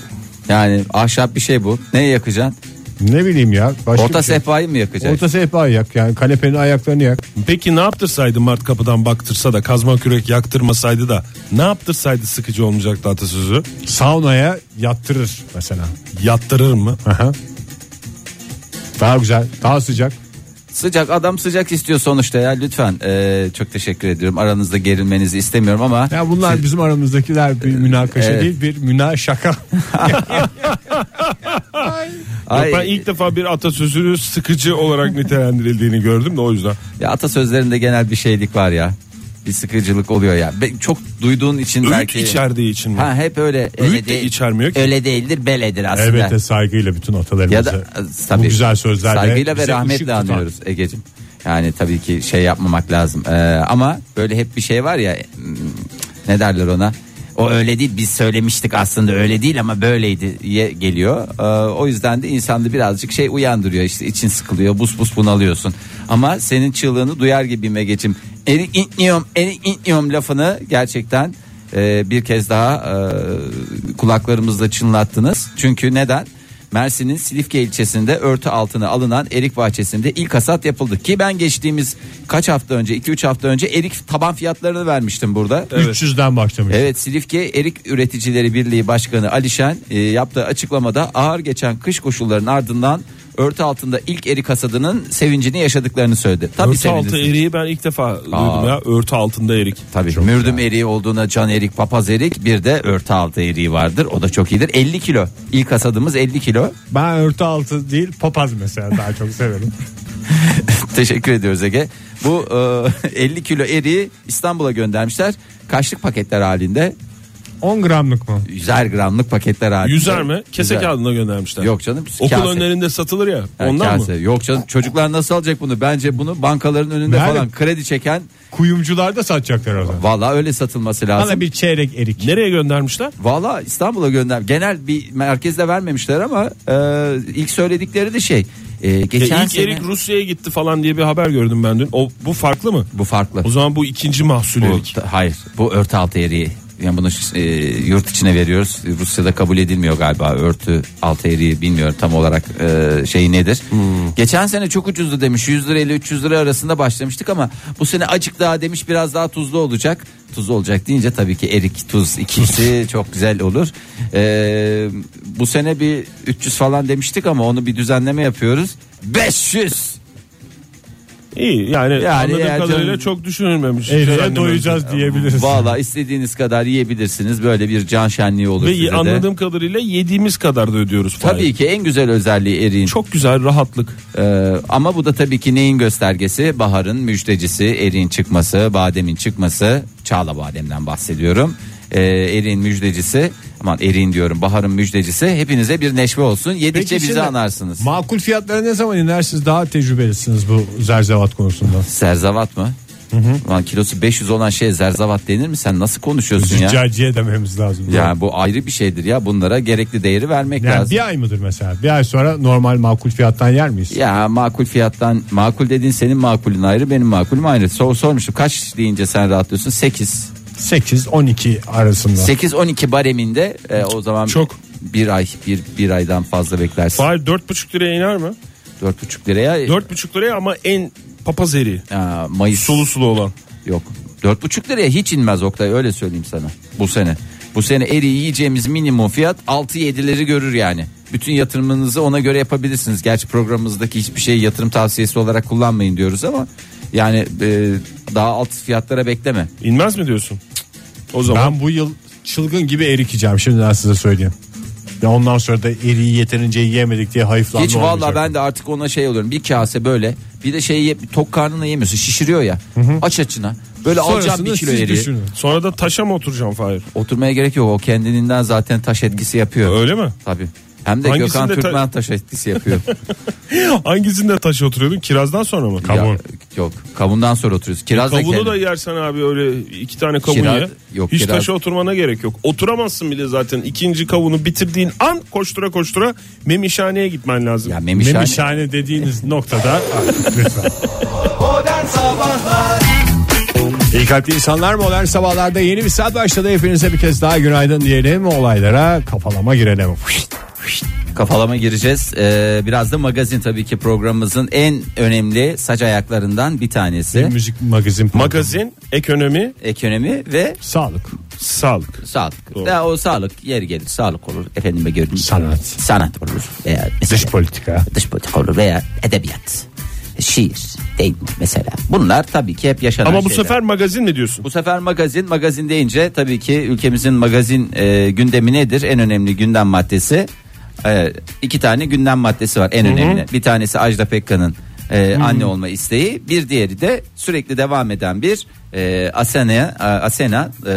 Speaker 4: Yani ahşap bir şey bul. Neyi yakacaksın?
Speaker 2: Ne bileyim ya. Başka
Speaker 4: Orta
Speaker 2: bir şey.
Speaker 4: sehpayı mı yakacaksın?
Speaker 2: Orta sehpayı yak yani kanepenin ayaklarını yak.
Speaker 3: Peki ne yaptırsaydı Mart kapıdan baktırsa da kazma kürek yaktırmasaydı da ne yaptırsaydı sıkıcı olmayacaktı atasözü?
Speaker 2: Saunaya yattırır mesela.
Speaker 3: Yattırır mı?
Speaker 2: Aha. Daha güzel, daha sıcak.
Speaker 4: Sıcak adam sıcak istiyor sonuçta ya lütfen. Ee, çok teşekkür ediyorum. Aranızda gerilmenizi istemiyorum ama
Speaker 2: Ya bunlar bizim aramızdakiler bir münakaşa
Speaker 4: Evet.
Speaker 2: değil, bir
Speaker 4: (laughs)
Speaker 2: münaşaka.
Speaker 4: Ay,
Speaker 3: Ben ilk defa bir atasözünü sıkıcı olarak nitelendirildiğini gördüm de o yüzden.
Speaker 4: ya atasözlerinde genel bir şeylik var ya. Bir sıkıcılık oluyor ya. Be- çok duyduğun için
Speaker 3: Öğüt
Speaker 4: belki.
Speaker 3: içerdiği için mi?
Speaker 4: Ha hep öyle.
Speaker 3: de içermiyor ki.
Speaker 4: Öyle değildir, beledir aslında.
Speaker 2: Elbette saygıyla bütün atalarımızı
Speaker 4: ya da e,
Speaker 2: bu
Speaker 4: tabii
Speaker 2: güzel sözlerle
Speaker 4: saygıyla ve
Speaker 2: bize ışık
Speaker 4: rahmetle
Speaker 2: tutan.
Speaker 4: anıyoruz Egeciğim. Yani tabii ki E, şey yapmamak lazım. Ee, ama böyle hep bir şey var ya hmm, ne derler ona? o öyle değil biz söylemiştik aslında öyle değil ama böyleydi diye geliyor. Ee, o yüzden de insanda birazcık şey uyandırıyor işte için sıkılıyor bus bus bunalıyorsun. Ama senin çığlığını duyar gibime geçim. Eri itniyorum eri itniyorum lafını gerçekten e, bir kez daha e, kulaklarımızda çınlattınız. Çünkü neden? Mersin'in Silifke ilçesinde örtü altına alınan erik bahçesinde ilk hasat yapıldı. Ki ben geçtiğimiz kaç hafta önce 2-3 hafta önce erik taban fiyatlarını vermiştim burada.
Speaker 2: 300'den başlamış.
Speaker 4: Evet Silifke Erik Üreticileri Birliği Başkanı Alişen e, yaptığı açıklamada ağır geçen kış koşullarının ardından örtü altında ilk erik hasadının sevincini yaşadıklarını söyledi. Tabii
Speaker 3: Örtü altı
Speaker 4: sevinirsin.
Speaker 3: eriği ben ilk defa duydum ya. Örtü altında erik.
Speaker 4: Tabii mürdüm eriği olduğuna can erik, papaz erik bir de örtü altı eriği vardır. O da çok iyidir. 50 kilo. İlk hasadımız 50 kilo.
Speaker 2: Ben örtü altı değil papaz mesela daha çok severim.
Speaker 4: Teşekkür ediyoruz Ege. Bu e, (laughs) 50 kilo eriği İstanbul'a göndermişler. Kaçlık paketler halinde?
Speaker 2: 10 gramlık mı?
Speaker 4: 100'er gramlık paketler halinde.
Speaker 3: Yüzer mi? Kese
Speaker 4: Yüzer.
Speaker 3: kağıdına göndermişler.
Speaker 4: Yok canım,
Speaker 3: Okul
Speaker 4: kase.
Speaker 3: önlerinde satılır ya.
Speaker 4: Ha,
Speaker 3: ondan
Speaker 4: kase.
Speaker 3: mı?
Speaker 4: Yok canım çocuklar nasıl alacak bunu? Bence bunu bankaların önünde
Speaker 2: Nerede?
Speaker 4: falan kredi çeken
Speaker 2: Kuyumcularda satacaklar o zaman.
Speaker 4: valla öyle satılması
Speaker 2: Bana
Speaker 4: lazım.
Speaker 2: bir çeyrek erik.
Speaker 3: Nereye göndermişler?
Speaker 4: Valla İstanbul'a gönder. Genel bir merkezde vermemişler ama e, ilk söyledikleri de şey. E,
Speaker 3: Ya
Speaker 4: geçen
Speaker 3: ilk
Speaker 4: sene
Speaker 3: erik Rusya'ya gitti falan diye bir haber gördüm ben dün. O bu farklı mı?
Speaker 4: bu farklı.
Speaker 3: O zaman bu ikinci mahsul
Speaker 4: Bu,
Speaker 3: erik.
Speaker 4: ta- hayır bu örtü altı eriği. Yani bunu e, yurt içine veriyoruz. Rusya'da kabul edilmiyor galiba örtü altı eriği bilmiyorum tam olarak e, şey nedir.
Speaker 3: Hmm.
Speaker 4: Geçen sene çok ucuzdu demiş 100 lira ile 300 lira arasında başlamıştık ama bu sene acık daha demiş biraz daha tuzlu olacak. Tuzlu olacak deyince tabii ki erik tuz
Speaker 3: (laughs)
Speaker 4: ikisi çok güzel olur. E, bu sene bir 300 falan demiştik ama onu bir düzenleme yapıyoruz. 500
Speaker 3: İyi yani,
Speaker 4: Yani
Speaker 3: anladığım
Speaker 4: eğer
Speaker 3: kadarıyla
Speaker 4: canım-
Speaker 3: çok düşünülmemiş.
Speaker 2: Eyle
Speaker 3: Düzenlememiş.
Speaker 2: doyacağız diyebiliriz.
Speaker 4: Valla istediğiniz kadar yiyebilirsiniz. Böyle bir can şenliği olur
Speaker 3: Ve
Speaker 4: size de.
Speaker 3: anladığım kadarıyla yediğimiz kadar da ödüyoruz. Fahir.
Speaker 4: Tabii ki en güzel özelliği eriğin.
Speaker 3: Çok güzel rahatlık.
Speaker 4: Ee, ama bu da tabii ki neyin göstergesi? Baharın müjdecisi, eriğin çıkması, bademin çıkması. Çağla bademden bahsediyorum. Ee, eriğin müjdecisi. Aman eriğin diyorum. Baharın müjdecisi. Hepinize bir neşve olsun. Yedikçe
Speaker 2: Peki
Speaker 4: bizi
Speaker 2: şimdi
Speaker 4: anarsınız.
Speaker 2: Makul fiyatlara ne zaman inersiniz? Daha tecrübelisiniz bu zerzevat konusunda.
Speaker 4: Serzavat mı? Lan kilosu 500 olan şey zerzavat denir mi? Sen nasıl konuşuyorsun ya?
Speaker 2: Züccaciye dememiz lazım.
Speaker 4: Ya bu ayrı bir şeydir ya. Bunlara gerekli değeri vermek
Speaker 2: Yani
Speaker 4: lazım.
Speaker 2: bir ay mıdır mesela? Bir ay sonra normal makul fiyattan yer miyiz?
Speaker 4: Ya makul fiyattan makul dediğin senin makulün ayrı benim makulüm ayrı. Sor, sormuştum kaç deyince sen rahatlıyorsun? 8.
Speaker 2: 8-12 arasında.
Speaker 4: 8-12 bareminde e, o zaman
Speaker 3: Çok.
Speaker 4: bir ay bir, bir aydan fazla beklersin.
Speaker 3: Fahir 4,5 liraya iner mi?
Speaker 4: 4,5 liraya
Speaker 3: 4,5 liraya ama en papaz eriği.
Speaker 4: Aa, Mayıs
Speaker 3: Sulu sulu olan.
Speaker 4: yok. 4,5 liraya hiç inmez Oktay öyle söyleyeyim sana bu sene. Bu sene eriği yiyeceğimiz minimum fiyat 6-7'leri görür yani. Bütün yatırımınızı ona göre yapabilirsiniz. Gerçi programımızdaki hiçbir şeyi yatırım tavsiyesi olarak kullanmayın diyoruz ama yani e, daha alt fiyatlara bekleme.
Speaker 3: İnmez mi diyorsun? O zaman
Speaker 2: Ben bu yıl çılgın gibi erikeceğim şimdiden size söyleyeyim. Ya ondan sonra da eriği yeterince yiyemedik diye hayıflanma
Speaker 4: Hiç valla ben de artık ona şey oluyorum. Bir kase böyle bir de şey ye- tok karnına yemiyorsun şişiriyor ya. Aç açına. Böyle alacağım bir kilo eriği.
Speaker 3: sonra da taşa mı oturacağım Fahir?
Speaker 4: Oturmaya gerek yok. O kendiliğinden zaten taş etkisi yapıyor.
Speaker 3: Öyle
Speaker 2: (laughs)
Speaker 3: mi?
Speaker 4: Tabii. Hem de
Speaker 3: Hangisinde
Speaker 4: Gökhan
Speaker 3: ta-
Speaker 4: Türkmen taş etkisi
Speaker 3: (laughs)
Speaker 4: yapıyor.
Speaker 3: Hangisinde taşa oturuyordun? Kirazdan sonra mı?
Speaker 4: Ya, yok. Kavundan sonra oturuyoruz. Kiraz da
Speaker 3: Kabuğunu
Speaker 4: kendi-
Speaker 3: E, da yersen abi öyle iki tane kabuğu
Speaker 4: Kiraz-
Speaker 3: ye.
Speaker 4: yok,
Speaker 3: Hiç
Speaker 4: kiraz-
Speaker 3: taşa oturmana gerek yok. Oturamazsın bile zaten. İkinci kavunu bitirdiğin an koştura koştura memişhaneye gitmen lazım.
Speaker 4: Ya memişhane.
Speaker 2: Memişhane dediğiniz
Speaker 4: (laughs)
Speaker 2: noktada lütfen. İyi kalpli insanlar modern sabahlarda yeni bir saat başladı. Hepinize bir kez daha günaydın diyelim. Olaylara kafalama girelim.
Speaker 4: Kafalama gireceğiz. Ee, biraz da magazin tabii ki programımızın en önemli saç ayaklarından bir tanesi.
Speaker 2: Müzik magazin.
Speaker 3: Magazin, ekonomi,
Speaker 4: Ekonomi ve
Speaker 2: Sağlık.
Speaker 3: sağlık.
Speaker 4: Sağlık.
Speaker 3: Doğru.
Speaker 4: Ya o sağlık yeri gelir. Sağlık olur. Efendime gördüm.
Speaker 2: Sanat.
Speaker 4: Sanat olur. Veya mesela-
Speaker 2: Dış politika.
Speaker 4: Dış politika olur veya edebiyat. Şiir değil mi mesela? Bunlar tabii ki hep yaşanan
Speaker 3: Ama bu
Speaker 4: şeyler.
Speaker 3: sefer magazin mi diyorsun?
Speaker 4: bu sefer magazin magazin deyince tabii ki ülkemizin magazin e, gündemi nedir? En önemli gündem maddesi e, iki tane gündem maddesi var en önemli. Bir tanesi Ajda Pekkan'ın e, anne olma isteği, bir diğeri de sürekli devam eden bir e, Asena e, Asena e,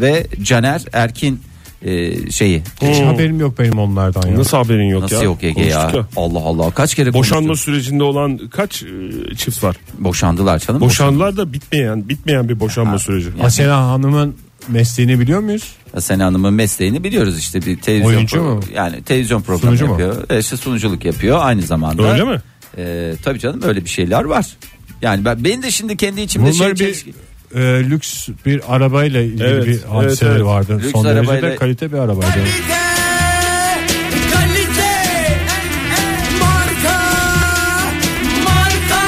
Speaker 4: ve Caner Erkin e, şeyi
Speaker 2: Hiç haberim yok benim onlardan ya.
Speaker 3: Nasıl haberin yok
Speaker 4: Nasıl
Speaker 3: ya?
Speaker 4: yok Ege ya?
Speaker 3: Konuştuk ya.
Speaker 4: Allah Allah kaç kere
Speaker 3: Boşanma
Speaker 4: konuştuk.
Speaker 3: sürecinde olan kaç e, çift var?
Speaker 4: boşandılar canım.
Speaker 3: Boşanlar da bitmeyen, bitmeyen bir boşanma süreci.
Speaker 2: Asena Hanım'ın mesleğini biliyor muyuz?
Speaker 4: Hasan Hanım'ın mesleğini biliyoruz işte bir televizyon
Speaker 2: Oyuncu mu?
Speaker 4: yani televizyon programı
Speaker 2: Sunucu mu?
Speaker 4: yapıyor. E, işte sunuculuk yapıyor aynı zamanda.
Speaker 3: Öyle mi?
Speaker 4: E, tabii canım öyle bir şeyler var. Yani ben benim de şimdi kendi içimde
Speaker 2: Bunları
Speaker 4: şey
Speaker 2: bir e, lüks bir arabayla ilgili
Speaker 3: Evet,
Speaker 2: bir hadiseleri
Speaker 3: evet, evet.
Speaker 2: vardı.
Speaker 4: Lüks
Speaker 2: Son derece de
Speaker 4: arabayla-
Speaker 2: kalite bir arabaydı.
Speaker 5: Kalite, marka, marka.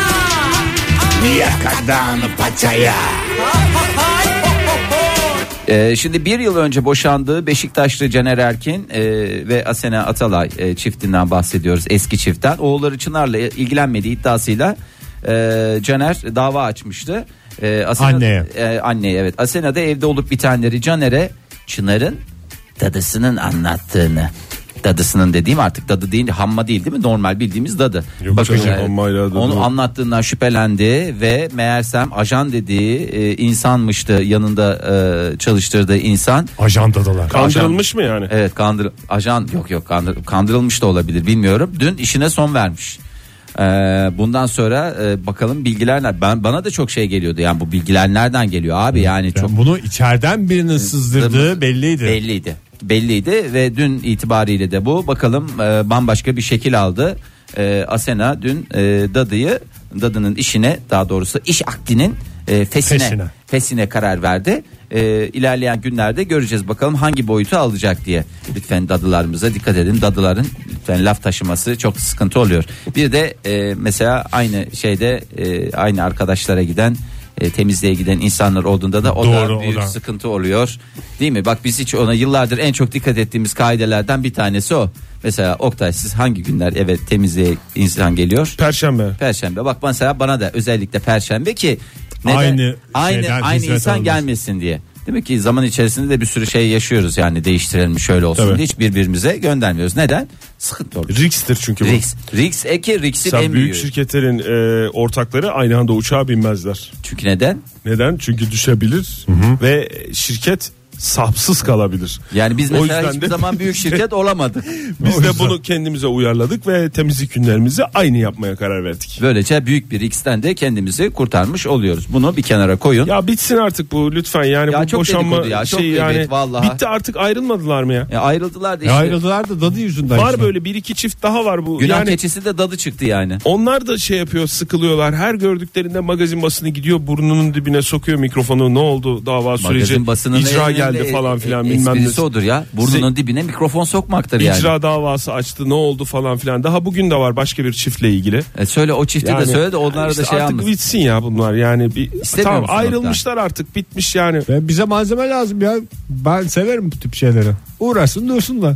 Speaker 4: Ee, şimdi bir yıl önce boşandığı Beşiktaşlı Caner Erkin e, ve Asena Atalay e, çiftinden bahsediyoruz eski çiftten. Oğulları Çınar'la ilgilenmediği iddiasıyla e, Caner dava açmıştı. E, Asena,
Speaker 2: Anneye.
Speaker 4: E, anneye evet. Asena da evde olup bitenleri Caner'e Çınar'ın dadısının anlattığını. Dadısının dediğim artık dadı değil hamma değil değil mi? Normal bildiğimiz dadı. Bakın,
Speaker 3: canım,
Speaker 4: e,
Speaker 3: hammayla dadı
Speaker 4: onu
Speaker 3: yok.
Speaker 4: anlattığından şüphelendi ve meğersem ajan dediği e, insanmıştı yanında e, çalıştırdığı insan.
Speaker 2: Ajandadalar.
Speaker 3: Kandırılmış mı yani?
Speaker 4: Evet kandır ajan yok yok kandır, kandırılmış da olabilir bilmiyorum. Dün işine son vermiş. E, bundan sonra e, bakalım bilgiler ne- ben bana da çok şey geliyordu yani bu bilgiler nereden geliyor abi yani çok
Speaker 2: Yani bunu içeriden birinin sızdırdığı belliydi.
Speaker 4: belliydi. Belliydi ve dün itibariyle de bu bakalım e, bambaşka bir şekil aldı. E, Asena dün e, dadıyı dadının işine daha doğrusu iş akdinin e, fesine,
Speaker 2: Fesine.
Speaker 4: fesine karar verdi. E, ilerleyen günlerde göreceğiz bakalım hangi boyutu alacak diye. Lütfen dadılarımıza dikkat edin. Dadıların lütfen laf taşıması çok sıkıntı oluyor. Bir de e, mesela aynı şeyde e, aynı arkadaşlara giden e, temizliğe giden insanlar olduğunda da o
Speaker 2: Doğru, o
Speaker 4: da büyük
Speaker 2: da.
Speaker 4: sıkıntı oluyor. Değil mi? Bak biz hiç ona yıllardır en çok dikkat ettiğimiz kaidelerden bir tanesi o. Mesela Oktay siz hangi günler eve temizliğe insan geliyor?
Speaker 3: Perşembe.
Speaker 4: Perşembe. Bak mesela bana da özellikle perşembe ki neden?
Speaker 2: Aynı
Speaker 4: aynı
Speaker 2: şeyden
Speaker 4: aynı
Speaker 2: hizmet
Speaker 4: insan
Speaker 2: alınmasın.
Speaker 4: gelmesin diye. Demek ki zaman içerisinde de bir sürü şey yaşıyoruz yani değiştirelim şöyle olsun
Speaker 3: Tabii.
Speaker 4: diye hiç birbirimize göndermiyoruz. Neden? Sıkıntı oluyor.
Speaker 3: Rix'tir çünkü bu.
Speaker 4: Rix. Rix eki Rix'in
Speaker 3: Sen
Speaker 4: en
Speaker 3: büyük
Speaker 4: büyüğü.
Speaker 3: şirketlerin e, ortakları aynı anda uçağa binmezler.
Speaker 4: Çünkü neden?
Speaker 3: Neden? Çünkü düşebilir ve şirket sapsız kalabilir.
Speaker 4: Yani biz
Speaker 3: O
Speaker 4: mesela
Speaker 3: yüzden
Speaker 4: hiçbir
Speaker 3: de- (laughs)
Speaker 4: zaman büyük şirket olamadık.
Speaker 3: Biz de bunu kendimize uyarladık ve temizlik günlerimizi aynı yapmaya karar verdik.
Speaker 4: Böylece büyük bir X'ten de kendimizi kurtarmış oluyoruz. Bunu bir kenara koyun.
Speaker 3: Ya bitsin artık bu lütfen yani
Speaker 4: Ya
Speaker 3: bu
Speaker 4: çok
Speaker 3: boşanma
Speaker 4: dedikodu ya, çok
Speaker 3: şey yani
Speaker 4: gıybet vallahi.
Speaker 3: bitti artık ayrılmadılar mı ya?
Speaker 4: E, ayrıldılar da
Speaker 2: E
Speaker 4: işte.
Speaker 2: ayrıldılar da dadı yüzünden.
Speaker 3: Var
Speaker 2: işte.
Speaker 3: böyle bir iki çift daha var bu.
Speaker 4: Günah
Speaker 3: yani
Speaker 4: keçisi de dadı çıktı yani.
Speaker 3: onlar da şey yapıyor sıkılıyorlar. Her gördüklerinde magazin basını gidiyor burnunun dibine sokuyor mikrofonu. Ne oldu dava süreci?
Speaker 4: Magazin basının
Speaker 3: şey icra
Speaker 4: en
Speaker 3: geldi
Speaker 4: önemli
Speaker 3: falan
Speaker 4: e-
Speaker 3: filan
Speaker 4: e-
Speaker 3: bilmem
Speaker 4: esprisi
Speaker 3: ne.
Speaker 4: odur ya. Burnunun dibine mikrofon sokmaktır yani.
Speaker 3: İcra davası açtı ne oldu falan filan. Daha bugün de var başka bir çiftle ilgili.
Speaker 4: E, söyle o çifti de söyle de onlara
Speaker 3: işte
Speaker 4: da şey
Speaker 3: artık
Speaker 4: almış.
Speaker 3: bitsin ya bunlar yani bir
Speaker 4: İstemiyor
Speaker 3: tamam
Speaker 4: musun
Speaker 3: ayrılmışlar artık bitmiş yani.
Speaker 2: Ya bize malzeme lazım ya. Ben severim bu tip şeyleri. Uğraşsın dursunlar.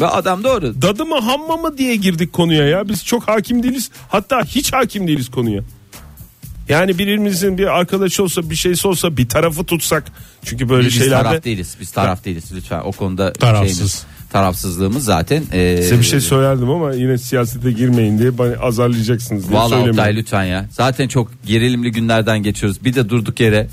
Speaker 4: Ve adam doğru.
Speaker 3: Dadı mı hamma mı diye girdik konuya ya. Biz çok hakim değiliz. Hatta hiç hakim değiliz konuya. Yani birimizin bir arkadaşı olsa bir şeysi olsa bir tarafı tutsak. Çünkü böyle
Speaker 4: Biz
Speaker 3: şeylerde
Speaker 4: taraf değiliz. Biz taraf değiliz lütfen. O konuda
Speaker 2: Tarafsız.
Speaker 4: şeyimiz- tarafsızlığımız zaten. e,
Speaker 3: size bir şey söylerdim ama yine siyasete girmeyin diye bana azarlayacaksınız diye
Speaker 4: Vallahi Oktay
Speaker 3: söylemiyorum.
Speaker 4: lütfen ya. Zaten çok gerilimli günlerden geçiyoruz. Bir de durduk yere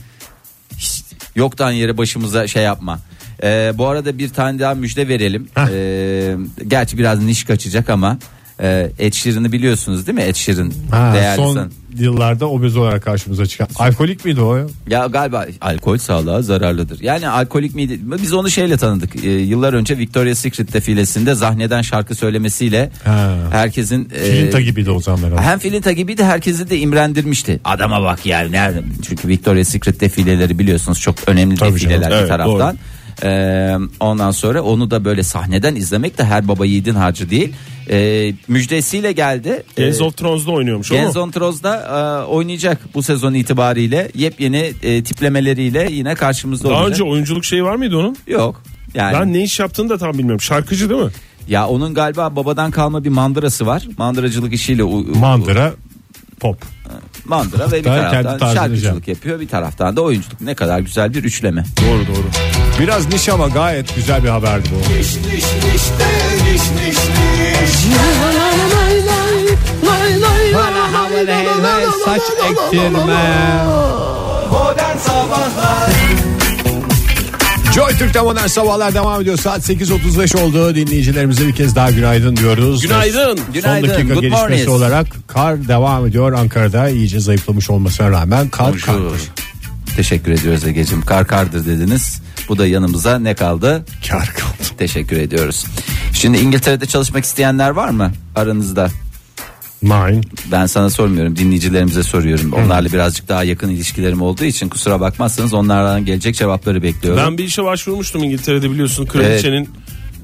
Speaker 4: hiç yoktan yere başımıza şey yapma. Ee, bu arada bir tane daha müjde verelim. Ee, gerçi biraz niş kaçacak ama e, Ed Sheeran'ı biliyorsunuz değil mi? Ed Sheeran
Speaker 2: Ha,
Speaker 4: değerli
Speaker 2: son
Speaker 4: san-
Speaker 2: yıllarda obez olarak karşımıza çıkan. Alkolik miydi o ya?
Speaker 4: Ya galiba alkol sağlığa zararlıdır. Yani alkolik miydi? Biz onu şeyle tanıdık. Ee, yıllar önce Victoria's Secret defilesinde zahneden şarkı söylemesiyle
Speaker 2: Ha.
Speaker 4: herkesin e,
Speaker 2: Filinta gibiydi o zaman herhalde.
Speaker 4: Hem Filinta gibiydi herkesi de imrendirmişti. Adama bak ya nerede? Çünkü Victoria's Secret defileleri biliyorsunuz çok önemli
Speaker 2: Tabii
Speaker 4: defileler
Speaker 2: canım,
Speaker 4: bir
Speaker 3: evet,
Speaker 4: taraftan. Ee, ondan sonra onu da böyle sahneden izlemek de her baba yiğidin harcı değil. Ee, müjdesiyle geldi.
Speaker 3: Games
Speaker 4: Ee,
Speaker 3: of Thrones'da oynuyormuş o mu?
Speaker 4: Genz on Troz'da e, oynayacak bu sezon itibariyle yepyeni e, tiplemeleriyle yine karşımızda
Speaker 3: Daha
Speaker 4: olacak.
Speaker 3: önce oyunculuk şeyi var mıydı onun?
Speaker 4: Yok. Yani
Speaker 3: Ben ne iş yaptığını da tam bilmiyorum. Şarkıcı değil mi?
Speaker 4: ya onun galiba babadan kalma bir mandırası var. Mandıracılık işiyle u- u-
Speaker 2: Mandıra pop.
Speaker 4: mandıra ve bir
Speaker 2: Ben kendi
Speaker 4: taraftan
Speaker 2: tarzını
Speaker 4: şarkıcılık
Speaker 2: yapacağım.
Speaker 4: yapıyor bir taraftan da oyunculuk. Ne kadar güzel bir üçleme.
Speaker 3: Doğru doğru.
Speaker 2: Biraz niş ama gayet güzel bir haberdi bu.
Speaker 5: Niş niş niş de niş niş niş.
Speaker 2: saç ektirme.
Speaker 5: Modern Sabahlar
Speaker 2: Joy Türk'te modern sabahlar devam ediyor. Saat 8.35 oldu. Dinleyicilerimize bir kez daha günaydın diyoruz.
Speaker 3: Günaydın.
Speaker 4: Günaydın,
Speaker 2: Son dakika
Speaker 4: good
Speaker 2: gelişmesi
Speaker 4: morning.
Speaker 2: olarak kar devam ediyor Ankara'da. iyice zayıflamış olmasına rağmen kar
Speaker 4: Bonjour.
Speaker 2: kar.
Speaker 4: Teşekkür ediyoruz Ege'cim. Karkardır dediniz. Bu da yanımıza ne kaldı?
Speaker 2: Kar kaldı.
Speaker 4: Teşekkür ediyoruz. Şimdi İngiltere'de çalışmak isteyenler var mı aranızda?
Speaker 2: Nine.
Speaker 4: Ben sana sormuyorum dinleyicilerimize soruyorum. Onlarla birazcık daha yakın ilişkilerim olduğu için kusura bakmazsanız onlardan gelecek cevapları bekliyorum.
Speaker 3: Ben bir işe başvurmuştum İngiltere'de biliyorsun kraliçenin.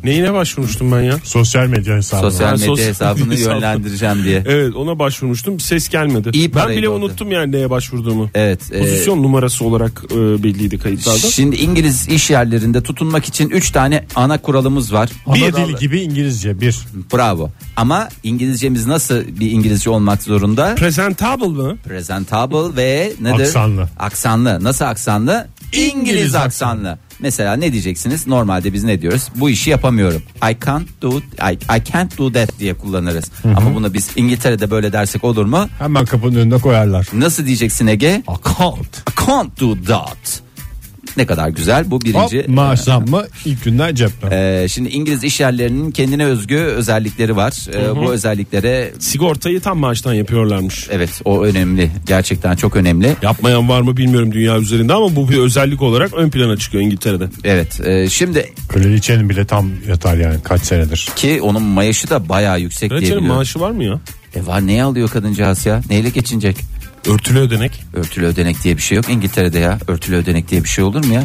Speaker 3: Neyine başvurmuştum ben ya?
Speaker 2: Sosyal medya hesabı.
Speaker 4: Sosyal
Speaker 3: Ben
Speaker 4: medya
Speaker 3: sosyal
Speaker 4: hesabını
Speaker 3: medya hesabı.
Speaker 4: yönlendireceğim diye.
Speaker 3: Evet ona başvurmuştum ses gelmedi.
Speaker 4: İyi
Speaker 3: ben
Speaker 4: paraydı
Speaker 3: bile
Speaker 4: o da.
Speaker 3: unuttum yani neye başvurduğumu.
Speaker 4: Evet. e,
Speaker 3: Pozisyon numarası olarak e, belliydi kayıtlarda.
Speaker 4: Şimdi İngiliz iş yerlerinde tutunmak için 3 tane ana kuralımız var.
Speaker 2: Bir dil gibi İngilizce bir.
Speaker 4: Bravo. Ama İngilizcemiz nasıl bir İngilizce olmak zorunda?
Speaker 3: Presentable mı?
Speaker 4: Presentable ve nedir?
Speaker 2: Aksanlı.
Speaker 4: Aksanlı. Nasıl aksanlı? İngiliz,
Speaker 2: İngiliz
Speaker 4: aksanlı. Mesela ne diyeceksiniz? Normalde biz ne diyoruz? Bu işi yapamıyorum. I can't do I, I can't do that diye kullanırız. Ama bunu biz İngiltere'de böyle dersek olur mu?
Speaker 2: Hemen kapının önüne koyarlar.
Speaker 4: Nasıl diyeceksin Ege?
Speaker 2: Account.
Speaker 4: I can't do that. Ne kadar güzel. Bu birinci.
Speaker 2: Hop maaş zammı ilk günden cepten.
Speaker 4: Ee, şimdi İngiliz iş yerlerinin kendine özgü özellikleri var. Ee, Bu özelliklere
Speaker 3: Sigortayı tam maaştan yapıyorlarmış.
Speaker 4: evet o önemli. Gerçekten çok önemli.
Speaker 3: Yapmayan var mı bilmiyorum dünya üzerinde ama bu bir özellik olarak ön plana çıkıyor İngiltere'de.
Speaker 4: Evet. e, şimdi
Speaker 2: Kraliçenin bile tam yatar yani kaç senedir.
Speaker 4: ki onun maaşı da bayağı yüksek diye
Speaker 3: Kraliçenin
Speaker 4: biliyorum.
Speaker 3: maaşı var mı ya?
Speaker 4: E var neye alıyor kadıncağız ya? Neyle geçinecek?
Speaker 3: Örtülü ödenek.
Speaker 4: Örtülü ödenek diye bir şey yok İngiltere'de ya. Örtülü ödenek diye bir şey olur mu ya?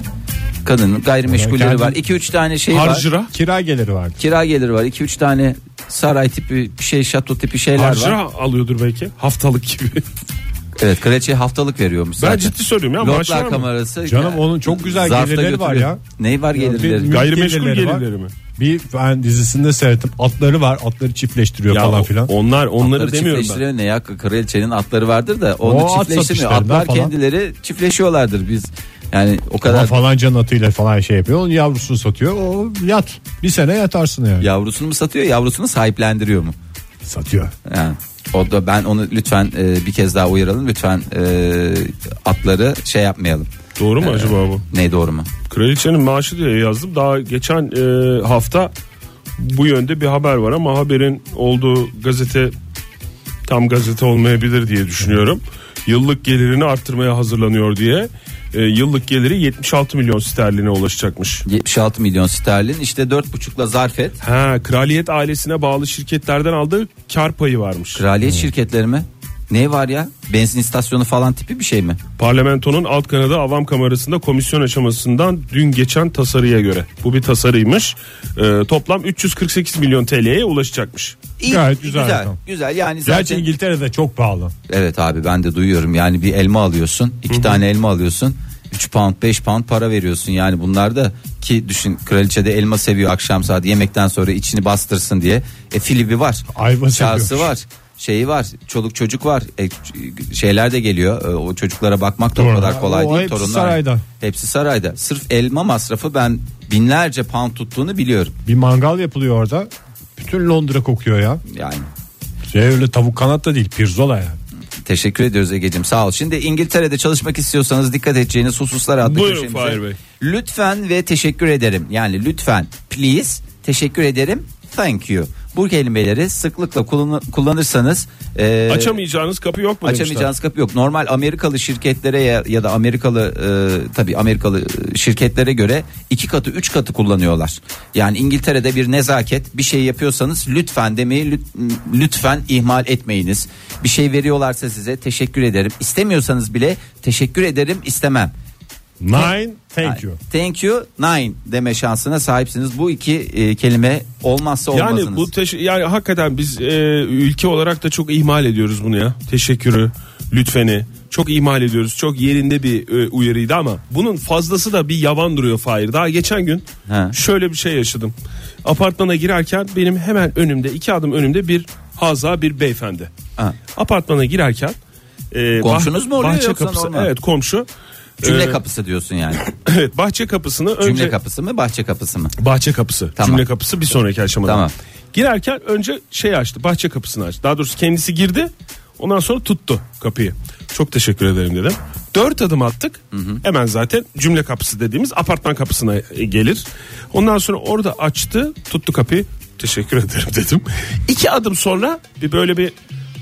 Speaker 4: Kadının
Speaker 2: Ya
Speaker 4: gayrimeşgulleri
Speaker 2: kendi-
Speaker 4: var. 2-3 tane şey var.
Speaker 3: Harcıra.
Speaker 2: Kira geliri vardı.
Speaker 4: Kira geliri var. 2-3 tane saray tipi bir şey şato tipi şeyler
Speaker 3: Harcıra
Speaker 4: var.
Speaker 3: alıyordur belki. Haftalık gibi.
Speaker 4: Evet kraliçeye haftalık veriyormuş
Speaker 3: ben
Speaker 4: zaten.
Speaker 3: ciddi söylüyorum ya. maaşı var
Speaker 4: Lordlar
Speaker 3: mı?
Speaker 4: kamerası.
Speaker 2: Canım onun çok güzel
Speaker 4: Zarfta
Speaker 2: gelirleri var
Speaker 4: götürüyor.
Speaker 2: ya.
Speaker 4: Neyi var gelirleri?
Speaker 2: bir-
Speaker 3: Gayrimeşgul
Speaker 2: Gelirleri
Speaker 3: gelirleri,
Speaker 2: var.
Speaker 3: mi?
Speaker 2: Bir ben dizisinde seyrettim. Atları var. Atları çiftleştiriyor
Speaker 3: Ya
Speaker 2: falan
Speaker 3: o-
Speaker 2: filan.
Speaker 3: Onlar onları
Speaker 4: Atları
Speaker 3: demiyorum ben.
Speaker 4: çiftleştiriyor ne ya kraliçenin atları vardır da onu
Speaker 2: O at
Speaker 4: çiftleştirmiyor.
Speaker 2: satışlarından
Speaker 4: Atlar
Speaker 2: falan.
Speaker 4: kendileri çiftleşiyorlardır biz. Yani o
Speaker 2: Ama
Speaker 4: kadar
Speaker 2: falancanın atıyla falan şey yapıyor. Onun yavrusunu satıyor. O yat. Bir sene yatarsın yani.
Speaker 4: yavrusunu mu satıyor yavrusunu sahiplendiriyor mu?
Speaker 2: Satıyor.
Speaker 4: Yani o da ben onu lütfen e, bir kez daha uyaralım lütfen e, atları şey yapmayalım.
Speaker 3: Doğru mu acaba bu?
Speaker 4: Ne doğru mu?
Speaker 3: Kraliçenin maaşı diye yazdım. Daha geçen e, hafta bu yönde bir haber var ama haberin olduğu gazete tam gazete olmayabilir diye düşünüyorum. Yıllık gelirini arttırmaya hazırlanıyor diye. E, yıllık geliri 76 milyon sterline ulaşacakmış.
Speaker 4: 76 milyon sterlin işte 4,5'la zarf et.
Speaker 3: Ha, kraliyet ailesine bağlı şirketlerden aldığı kar payı varmış.
Speaker 4: Kraliyet
Speaker 2: Hmm.
Speaker 4: şirketleri mi? Ne var ya? Benzin istasyonu falan tipi bir şey mi?
Speaker 3: Parlamentonun alt kanadı avam kamerasında komisyon aşamasından dün geçen tasarıya göre. Bu bir tasarıymış. E, toplam 348 milyon TL'ye ulaşacakmış.
Speaker 4: İyi,
Speaker 2: Gayet güzel
Speaker 4: Güzel,
Speaker 2: rakam.
Speaker 4: güzel. yani
Speaker 2: Gerçi
Speaker 4: zaten
Speaker 2: İngiltere'de çok pahalı.
Speaker 4: Evet abi ben de duyuyorum yani bir elma alıyorsun iki tane elma alıyorsun 3 pound 5 pound para veriyorsun yani bunlar da ki düşün kraliçe de elma seviyor akşam saat yemekten sonra içini bastırsın diye e filibi var
Speaker 2: Ayva
Speaker 4: çağsı
Speaker 2: seviyormuş.
Speaker 4: var şeyi var çoluk çocuk var E, şeyler de geliyor E, o çocuklara bakmak da o
Speaker 2: Torunlar.
Speaker 4: kadar kolay
Speaker 2: O
Speaker 4: değil
Speaker 2: hepsi sarayda.
Speaker 4: hepsi sarayda sırf elma masrafı ben binlerce pound tuttuğunu biliyorum
Speaker 2: Bir mangal yapılıyor orada. Bütün Londra kokuyor ya.
Speaker 4: yani
Speaker 2: Şey öyle tavuk kanat da değil. Pirzola yani.
Speaker 4: Teşekkür ediyoruz Ege'cim sağ ol. Şimdi İngiltere'de çalışmak istiyorsanız dikkat edeceğiniz hususlar adlı
Speaker 3: Buyurun
Speaker 4: köşemize.
Speaker 3: Fahir Bey.
Speaker 4: Lütfen ve teşekkür ederim. Yani lütfen please teşekkür ederim thank you. Bu kelimeleri sıklıkla kullan- kullanırsanız e,
Speaker 3: Açamayacağınız kapı yok mu demişler.
Speaker 4: açamayacağınız kapı yok. Normal Amerikalı şirketlere ya, ya da Amerikalı e, tabii Amerikalı şirketlere göre iki katı üç katı kullanıyorlar. Yani İngiltere'de bir nezaket bir şey yapıyorsanız lütfen demeyi lüt- lütfen ihmal etmeyiniz. Bir şey veriyorlarsa size teşekkür ederim. İstemiyorsanız bile teşekkür ederim istemem.
Speaker 2: Nine thank you.
Speaker 4: Thank you nine deme şansına sahipsiniz. Bu iki e, kelime olmazsa olmazınız.
Speaker 3: Yani bu teş- yani hakikaten biz e, ülke olarak da çok ihmal ediyoruz bunu ya. Teşekkürü, lütfeni çok ihmal ediyoruz. Çok yerinde bir e, uyarıydı ama bunun fazlası da bir yavan duruyor Fahir. Daha geçen gün
Speaker 4: He.
Speaker 3: şöyle bir şey yaşadım. Apartmana girerken benim hemen önümde iki adım önümde bir haza bir beyefendi.
Speaker 4: Ha.
Speaker 3: Apartmana girerken e,
Speaker 4: Komşunuz
Speaker 3: bah-
Speaker 4: mu oluyor
Speaker 3: bahçe
Speaker 4: yoksa
Speaker 3: kapısı,
Speaker 4: normal?
Speaker 3: Evet komşu. (clears throat)
Speaker 4: Cümle
Speaker 3: E,
Speaker 4: kapısı diyorsun
Speaker 3: (coughs)
Speaker 4: yani.
Speaker 3: Evet bahçe kapısını önce
Speaker 4: Cümle kapısı mı bahçe kapısı mı?
Speaker 3: Bahçe kapısı.
Speaker 4: Tamam.
Speaker 3: Cümle kapısı bir sonraki aşamada.
Speaker 4: Tamam.
Speaker 3: Girerken önce şey açtı. Bahçe kapısını açtı. Daha doğrusu kendisi girdi. Ondan sonra tuttu kapıyı. Çok teşekkür ederim dedim. Dört adım attık. Hemen zaten cümle kapısı dediğimiz apartman kapısına e, gelir. Ondan sonra orada açtı. Tuttu kapıyı. Teşekkür ederim (laughs) dedim. İki adım sonra bir böyle bir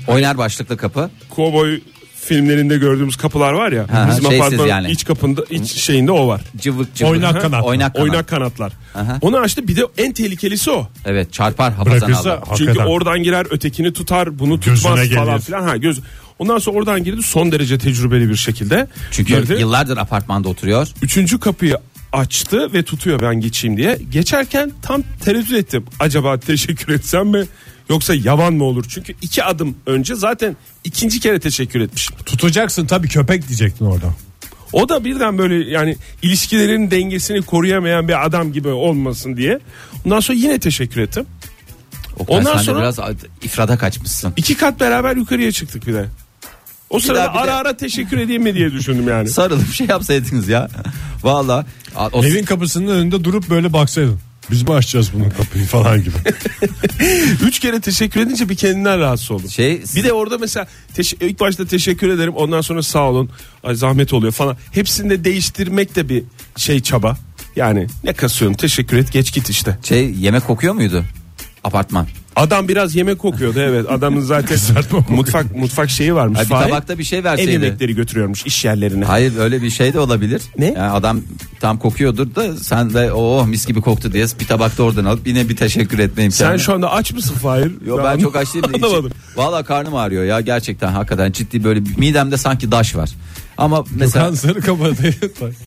Speaker 4: Oynar başlıklı kapı.
Speaker 3: kovboy filmlerinde gördüğümüz kapılar var ya.
Speaker 4: Ha,
Speaker 3: bizim
Speaker 4: şeysiz
Speaker 3: apartmanın
Speaker 4: yani.
Speaker 3: iç kapında iç şeyinde o var.
Speaker 4: Cıvık cıvık.
Speaker 2: Oynak kanat.
Speaker 4: Oynak kanat.
Speaker 3: Oynak kanatlar.
Speaker 4: Aha.
Speaker 3: Onu açtı bir de en tehlikelisi o.
Speaker 4: Evet çarpar hapazan
Speaker 2: Bırakırsa
Speaker 4: aldı.
Speaker 2: hakikaten.
Speaker 3: Çünkü oradan girer ötekini tutar bunu
Speaker 2: Gözüne
Speaker 3: tutmaz falan
Speaker 2: gelir.
Speaker 3: filan. Ha, göz. Ondan sonra oradan girdi son derece tecrübeli bir şekilde.
Speaker 4: Çünkü
Speaker 3: girdi.
Speaker 4: yıllardır apartmanda oturuyor.
Speaker 3: Üçüncü kapıyı açtı ve tutuyor ben geçeyim diye. Geçerken tam tereddüt ettim. Acaba teşekkür etsem mi yoksa yavan mı olur? Çünkü iki adım önce zaten ikinci kere teşekkür etmiş.
Speaker 2: Tutacaksın tabii köpek diyecektin orada.
Speaker 3: O da birden böyle yani ilişkilerin dengesini koruyamayan bir adam gibi olmasın diye. Ondan sonra yine teşekkür ettim.
Speaker 4: Oktay,
Speaker 3: Ondan
Speaker 4: sen de
Speaker 3: sonra-
Speaker 4: biraz ifrada kaçmışsın. (laughs)
Speaker 3: İki kat beraber yukarıya çıktık bir de. O sırada
Speaker 4: daha bir
Speaker 3: ara
Speaker 4: de-
Speaker 3: ara teşekkür edeyim mi diye düşündüm yani.
Speaker 4: Sarılıp şey yapsaydınız ya. Valla. a- o-
Speaker 2: Evin kapısının önünde durup böyle baksaydın. Biz mi açacağız bunun kapıyı falan
Speaker 3: (laughs)
Speaker 2: gibi.
Speaker 3: Üç kere teşekkür edince bir kendinden rahatsız oldum.
Speaker 4: Şey-
Speaker 3: bir de orada mesela teş- ilk başta teşekkür ederim ondan sonra sağ olun ay zahmet oluyor falan. Hepsini de değiştirmek de bir şey çaba. Yani ne kasıyorsun teşekkür et geç git işte.
Speaker 4: Şey yemek kokuyor muydu? Apartman.
Speaker 3: Adam biraz yemek kokuyordu evet.
Speaker 4: (laughs)
Speaker 3: Adamın zaten mutfak mutfak şeyi varmış.
Speaker 4: Ay, bir
Speaker 3: Fahir.
Speaker 4: tabakta bir şey
Speaker 3: Ev
Speaker 4: verseydi.
Speaker 3: yemekleri götürüyormuş iş yerlerine.
Speaker 4: Hayır öyle bir şey de olabilir.
Speaker 3: Ne?
Speaker 4: Yani adam tam kokuyordur da sen de oh mis gibi koktu diye bir tabak da oradan alıp yine bir teşekkür etme imkanı.
Speaker 3: Sen şu anda aç mısın Fahir?
Speaker 4: Yo, ben çok aç
Speaker 3: (laughs)
Speaker 4: değilim. de içim-
Speaker 3: Anlamadım.
Speaker 4: Valla karnım ağrıyor ya gerçekten hakikaten ciddi böyle midemde sanki daş var. Ama mesela
Speaker 2: Kanserı kapadı.